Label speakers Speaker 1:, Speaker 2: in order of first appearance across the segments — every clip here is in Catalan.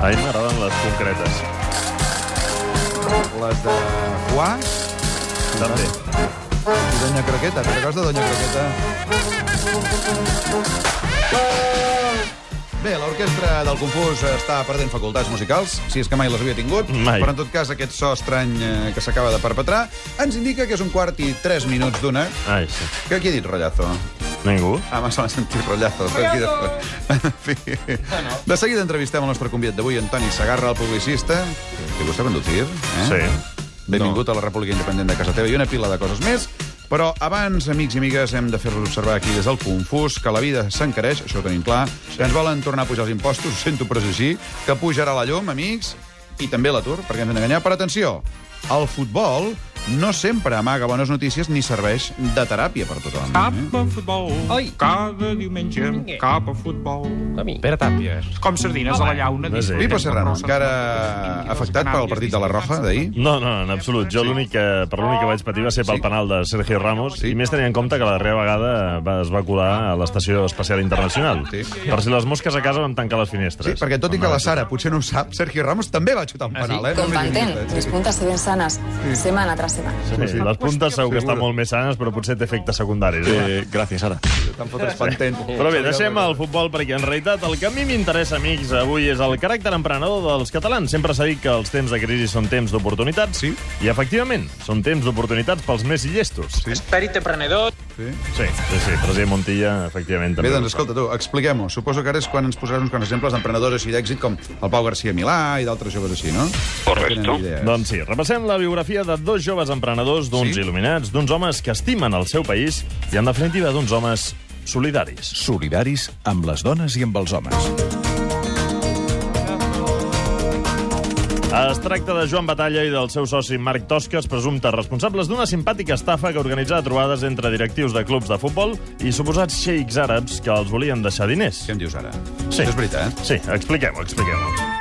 Speaker 1: A mi m'agraden les concretes,
Speaker 2: Les de Juà,
Speaker 1: també.
Speaker 2: i Doña Croqueta. Te'n recordes de Doña Croqueta? Bé, l'orquestra del Confús està perdent facultats musicals, si és que mai les havia tingut,
Speaker 1: Mai.
Speaker 2: però en tot cas aquest so estrany eh, que s'acaba de perpetrar ens indica que és un quart i tres minuts d'una.
Speaker 1: Ai, sí.
Speaker 2: Que qui ha dit rotllazo?
Speaker 1: Ningú?
Speaker 2: Ah, m'ha sonat sentir rotllazo. En fi. De seguida entrevistem el nostre convidat d'avui, Antoni Sagarra, el publicista, que vostè conducir, eh?
Speaker 1: Sí.
Speaker 2: Benvingut a la República Independent de casa teva i una pila de coses més. Però abans, amics i amigues, hem de fer-vos observar aquí des del confús que la vida s'encareix, això ho tenim clar, que ens volen tornar a pujar els impostos, ho sento, però és així, que pujarà la llum, amics, i també l'atur, perquè ens hem d'enganyar. Però atenció, el futbol no sempre amaga bones notícies ni serveix de teràpia per tothom.
Speaker 3: Cap a futbol, Oi. cada diumenge, cap a futbol.
Speaker 4: Pere Tàpies.
Speaker 3: Com sardines a la llauna.
Speaker 1: No sé.
Speaker 3: disfrutem
Speaker 2: Pipo
Speaker 1: Pipo
Speaker 3: de
Speaker 2: Serrano,
Speaker 3: rosses
Speaker 2: encara
Speaker 3: blanques,
Speaker 2: afectat pel partit de la Roja d'ahir?
Speaker 1: No, no, en absolut. Jo l'únic que, per l'únic que vaig patir va ser pel
Speaker 2: Sí.
Speaker 1: penal de Sergio Ramos
Speaker 2: Sí.
Speaker 1: i més tenint en compte que la darrera vegada va, es va colar a l'Estació Espacial Internacional.
Speaker 2: Sí.
Speaker 1: Per si les mosques a casa vam tancar les
Speaker 2: Sí,
Speaker 1: finestres.
Speaker 2: perquè tot i que la Sara potser no ho sap, Sergio Ramos també va xutar un penal, eh? No m'he
Speaker 5: Comparten
Speaker 2: equivocat,
Speaker 5: mis
Speaker 2: sí.
Speaker 5: puntas bien sanas semana tras semana.
Speaker 1: Sí, sí. Les puntes segur que
Speaker 2: Segura.
Speaker 1: estan molt més sanes, però potser té efectes secundaris. Eh,
Speaker 4: Eh, gràcies, ara.
Speaker 2: Te'n fotres patent.
Speaker 1: Però bé, deixem el futbol perquè en realitat el que a mi m'interessa, amics, avui és el caràcter emprenedor dels catalans. Sempre s'ha dit que els temps de crisi són temps d'oportunitats.
Speaker 2: Sí.
Speaker 1: I efectivament, són temps d'oportunitats pels més llestos. Sí,
Speaker 6: Esperit emprenedor.
Speaker 2: Sí.
Speaker 1: sí, sí, sí president Montilla, efectivament.
Speaker 2: Bé,
Speaker 1: També.
Speaker 2: doncs escolta, tu, expliquem-ho. Suposo que ara és quan ens posaràs uns quants exemples d'emprenedors així d'èxit com el Pau García Milà i d'altres joves així, no? Correcto.
Speaker 1: Doncs sí, repassem la biografia de dos joves emprenedors, d'uns
Speaker 2: Sí?
Speaker 1: sí? il·luminats, d'uns homes que estimen el seu país i, en definitiva, d'uns homes solidaris.
Speaker 4: Solidaris amb les dones i amb els homes.
Speaker 1: Es tracta de Joan Batalla i del seu soci Marc Tosques, presumptes responsables d'una simpàtica estafa que organitzava trobades entre directius de clubs de futbol i suposats xeics àrabs que els volien deixar diners.
Speaker 2: Què em dius ara?
Speaker 1: Sí.
Speaker 2: Això és veritat?
Speaker 1: Sí, expliquem-ho, expliquem-ho.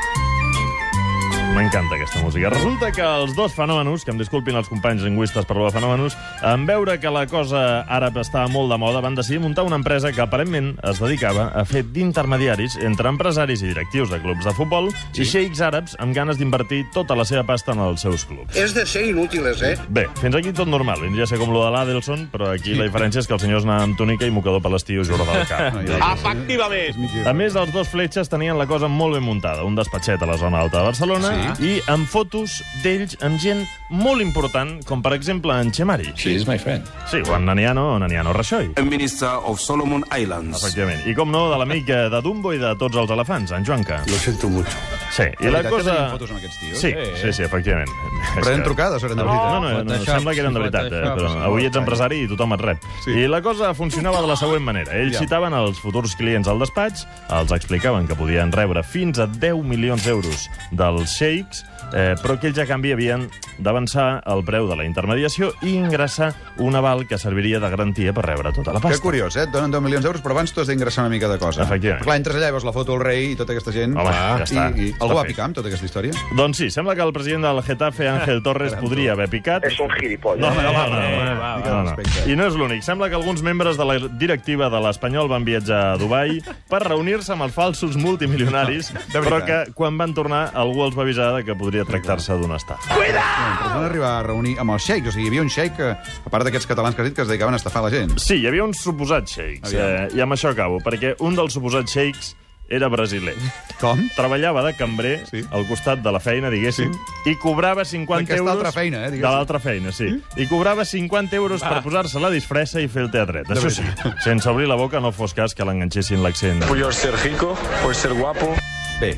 Speaker 1: M'encanta aquesta música. Resulta que els dos fenòmenos, que em disculpin els companys lingüistes per lo de fenòmenos, en veure que la cosa àrab estava molt de moda, van decidir muntar una empresa que aparentment es dedicava a fer d'intermediaris entre empresaris i directius de clubs de futbol sí. i xeics àrabs amb ganes d'invertir tota la seva pasta en els seus clubs.
Speaker 7: Es de ser inútiles, ¿eh?
Speaker 1: Bé, fins aquí tot normal. Vindria a ser com lo de l'Adelson, però aquí la diferència és que els senyors anaven amb túnica i mocador per l'estiu i jorra del cap.
Speaker 3: Efectivament.
Speaker 1: A més, els dos fletxes tenien la cosa molt ben muntada. Un despatxet a la zona alta de Barcelona sí. i amb fotos d'ells amb gent molt important, com per exemple en Xemari.
Speaker 4: She is my friend.
Speaker 1: Sí, o en Naniano, o Naniano Rajoy.
Speaker 8: Minister of Solomon Islands.
Speaker 1: Efectivament. I com no, de l'amic eh, de Dumbo i de tots els elefants, en Joanca.
Speaker 7: Lo siento mucho.
Speaker 1: Sí, i la cosa...
Speaker 2: fotos amb aquests tios?
Speaker 1: Sí,
Speaker 7: eh.
Speaker 1: sí, sí, efectivament.
Speaker 2: Però eren
Speaker 1: És que-
Speaker 2: trucades, eren de
Speaker 1: No,
Speaker 2: veritat.
Speaker 1: no, no, no,
Speaker 4: Photoshop,
Speaker 1: sembla que eren de veritat, eh,
Speaker 4: Photoshop,
Speaker 1: però avui ets empresari i tothom et rep.
Speaker 2: Sí.
Speaker 1: I la cosa funcionava de la següent manera. Ells
Speaker 2: Ja.
Speaker 1: citaven els futurs clients al despatx, els explicaven que podien rebre fins a 10 milions d'euros dels sheiks, eh, però que ells a canvi havien d'avançar el preu de la intermediació i ingressar un aval que serviria de garantia per rebre tota la
Speaker 2: Que
Speaker 1: pasta.
Speaker 2: curiós, eh? Et donen 10 milions d'euros, però abans tu has d'ingressar una mica de cosa.
Speaker 1: Efectivament.
Speaker 2: Clar, entres allà i veus la foto del rei i tota aquesta gent.
Speaker 1: Home, ja està.
Speaker 2: I, i
Speaker 1: Està
Speaker 2: algú va
Speaker 1: fet.
Speaker 2: picar amb tota aquesta història?
Speaker 1: Doncs sí, sembla que el president del Getafe, Ángel Torres, podria haver picat.
Speaker 7: Es un gilipollas.
Speaker 1: No, no,
Speaker 2: Eh,
Speaker 1: no, no,
Speaker 2: va,
Speaker 1: no,
Speaker 2: va.
Speaker 1: no, no. I no és l'únic. Sembla que alguns membres de la directiva de l'Espanyol van viatjar a Dubai per reunir-se amb els falsos multimilionaris,
Speaker 2: veritat.
Speaker 1: però que quan van tornar algú els va avisar de que podria tractar-se d'una estafa.
Speaker 2: Però es van arribar a reunir amb els xeics. O sigui, hi havia un xeic, que, a part d'aquests catalans que has dit, que es dedicaven a estafar la gent.
Speaker 1: Sí, hi havia uns suposats xeics, eh,
Speaker 2: Aviam.
Speaker 1: i amb això acabo, perquè un dels suposats xeics era brasiler.
Speaker 2: Com?
Speaker 1: Treballava de cambrer
Speaker 2: Sí.
Speaker 1: sí. al costat de la feina, diguéssim, sí. i cobrava 50
Speaker 2: D'aquesta
Speaker 1: euros...
Speaker 2: altra feina, eh,
Speaker 1: De
Speaker 2: diguéssim. Mm.
Speaker 1: l'altra feina, sí. I cobrava 50 euros per posar-se la disfressa i fer el teatret. Això sí, sense obrir la boca no fos cas que l'enganxessin l'accent.
Speaker 9: Por ser rico, por ser guapo.
Speaker 2: Bé,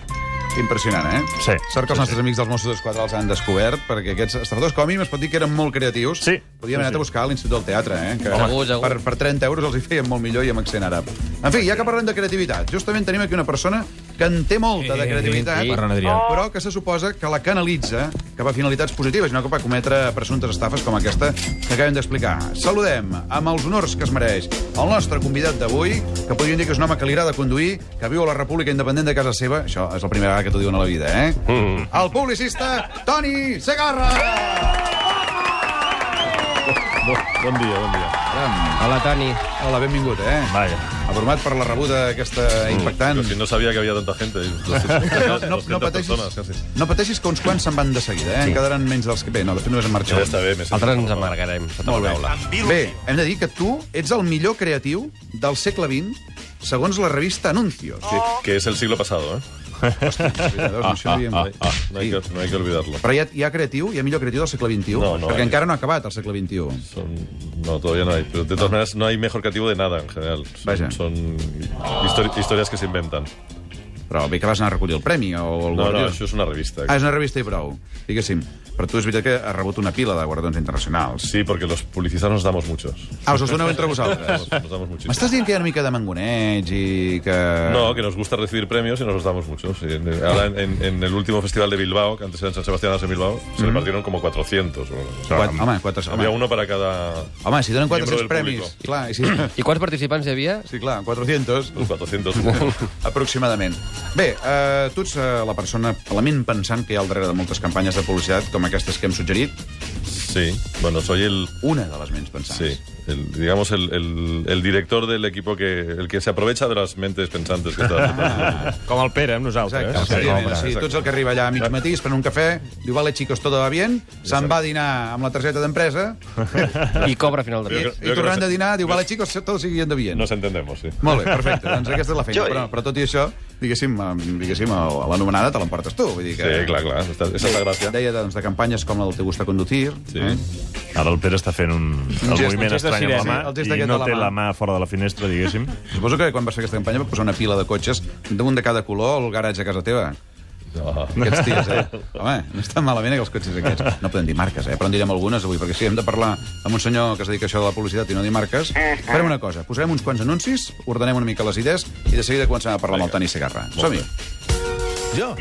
Speaker 2: impressionant, eh?
Speaker 1: Sí.
Speaker 2: Sort que els nostres amics dels Mossos d'Esquadra els han descobert, perquè aquests estafadors, com a mínim, es pot dir que eren molt creatius.
Speaker 1: Sí.
Speaker 2: Podíem anar
Speaker 1: Sí, sí.
Speaker 2: a buscar a l'Institut del Teatre, eh? Que
Speaker 4: Home. Segur, segur.
Speaker 2: Per, per 30 euros els hi feien molt millor i amb accent àrab. En fi, ja que parlem de creativitat, justament tenim aquí una persona que en té molta de creativitat,
Speaker 4: sí, Ferran Adrià.
Speaker 2: però que se suposa que la canalitza cap a finalitats positives, no cap a cometre presumptes estafes com aquesta que acabem d'explicar. Saludem, amb els honors que es mereix, el nostre convidat d'avui, que podríem dir que és un home que li agrada conduir, que viu a la República Independent de casa seva, això és la primera vegada que t'ho diuen a la vida, eh? Mm. El publicista Toni Segarra!
Speaker 1: Bon, bon dia, bon dia.
Speaker 2: Aviam.
Speaker 6: Hola, Toni.
Speaker 2: Hola, benvingut, eh?
Speaker 1: Vaja.
Speaker 2: Abrumat per la rebuda aquesta impactant.
Speaker 10: Mm. Si no sabía que había tanta gente. 200,
Speaker 2: No, no, no,
Speaker 10: 200 persones,
Speaker 2: pateixis,
Speaker 10: casi.
Speaker 2: no pateixis que uns quants se'n van de seguida, eh? Sí. Quedaran menys dels que... Bé, no, de fet només en marxa.
Speaker 10: Ja
Speaker 2: un.
Speaker 10: està bé, més.
Speaker 6: Altres ens amargarem sota
Speaker 2: Molt
Speaker 6: la
Speaker 2: bé.
Speaker 6: taula.
Speaker 2: Bé, hem de dir que tu ets el millor creatiu del segle XX, segons la revista Anuncios.
Speaker 10: Que, que es el siglo pasado,
Speaker 2: Ah,
Speaker 10: ¿eh?
Speaker 2: eh?
Speaker 10: Ah, No hay,
Speaker 2: Sí.
Speaker 10: que, no hay que olvidarlo.
Speaker 2: Però hi ha, hi ha creatiu, hi ha millor creatiu del segle XXI,
Speaker 10: No, no,
Speaker 2: perquè
Speaker 10: eh.
Speaker 2: encara no ha acabat el segle XXI.
Speaker 10: Son- no, todavía no hay. Pero de todas maneras, no hay mejor creativo de nada en general. Son,
Speaker 2: Vaya.
Speaker 10: son histori- historias que se inventan.
Speaker 2: Però bé que vas anar a recollir el premi o el
Speaker 10: No, no,
Speaker 2: guardió.
Speaker 10: eso es una revista.
Speaker 2: Ah, és una revista i prou, diguéssim. Però tu és veritat que has rebut una pila de guardons internacionals.
Speaker 10: Sí, porque los publicistas nos damos muchos.
Speaker 2: Ah, us els doneu entre vosaltres.
Speaker 10: Nos, nos damos muchísimos.
Speaker 2: M'estàs dient que hi ha una mica de mangoneig i que...
Speaker 10: No, que nos gusta recibir premios y nos los damos muchos. Y en- Ahora en, en- en el último festival de Bilbao, que antes era en San Sebastián, ahora es en Bilbao, se repartieron como 400. o algo así.
Speaker 2: Quatre, home, quatre,
Speaker 10: Había
Speaker 2: home,
Speaker 10: uno para cada...
Speaker 2: home, si donen
Speaker 10: miembro
Speaker 2: 400
Speaker 10: del
Speaker 2: premis...
Speaker 10: público.
Speaker 2: Clar, i si,
Speaker 6: I quants participants hi havia?
Speaker 2: sí, clar, 400,
Speaker 10: 400.
Speaker 2: aproximadament. Bé, eh, tu ets eh, la persona, la ment pensant que hi ha al darrere de moltes campanyes de publicitat com aquestes que hem suggerit,
Speaker 10: Sí, bueno, soy el...
Speaker 2: una de les ments pensants.
Speaker 10: Sí, el- digamos el, el- el director del equipo que el que se aprovecha de las mentes pensantes que están detrás.
Speaker 1: Com el Pere, amb nosaltres.
Speaker 2: Exacte, sí,
Speaker 1: home,
Speaker 2: sí, tu ets el que arriba allà a mig matí, es pren un cafè, diu, vale, chicos, todo va bien, se'n va a dinar amb la targeta d'empresa,
Speaker 6: I cobra a final de
Speaker 10: Jo crec-
Speaker 6: mes.
Speaker 2: i
Speaker 10: que no
Speaker 2: tornant
Speaker 10: sé-
Speaker 2: de dinar, diu, vale, chicos, todo siguiendo bien.
Speaker 10: Nos entendemos, sí.
Speaker 2: Molt bé, perfecte. Doncs aquesta és la feina. Però, però tot i això, diguéssim, em, diguéssim el- l'anomenada te l'emportes tu. Vull dir que...
Speaker 10: Sí, claro, claro. Esta- esa es la gracia.
Speaker 2: Deia doncs, de campanyes com la del Te gusta conducir. eh?
Speaker 10: Sí.
Speaker 1: Ara el Pere està fent un, el
Speaker 2: gest- un
Speaker 1: moviment
Speaker 2: gest de
Speaker 1: estrany amb
Speaker 2: sirena.
Speaker 1: la
Speaker 2: Sí, el
Speaker 1: mà
Speaker 2: gest
Speaker 1: i
Speaker 2: d'aquest
Speaker 1: no
Speaker 2: de la
Speaker 1: té
Speaker 2: mà.
Speaker 1: la mà fora de la finestra, diguéssim.
Speaker 2: Suposo que quan vas fer aquesta campanya vas posar una pila de cotxes d'un de cada color al garatge a casa teva.
Speaker 10: No.
Speaker 2: Aquests dies, eh? Home, no està malament eh, que els cotxes aquests. No podem dir marques, eh? Però en direm algunes avui, perquè si hem de parlar amb un senyor que es dedica a això de la publicitat i no dir marques, farem una cosa. Posarem uns quants anuncis, ordenem una mica les idees i de seguida comencem a parlar amb el Toni Segarra. Som-hi.
Speaker 4: Jo?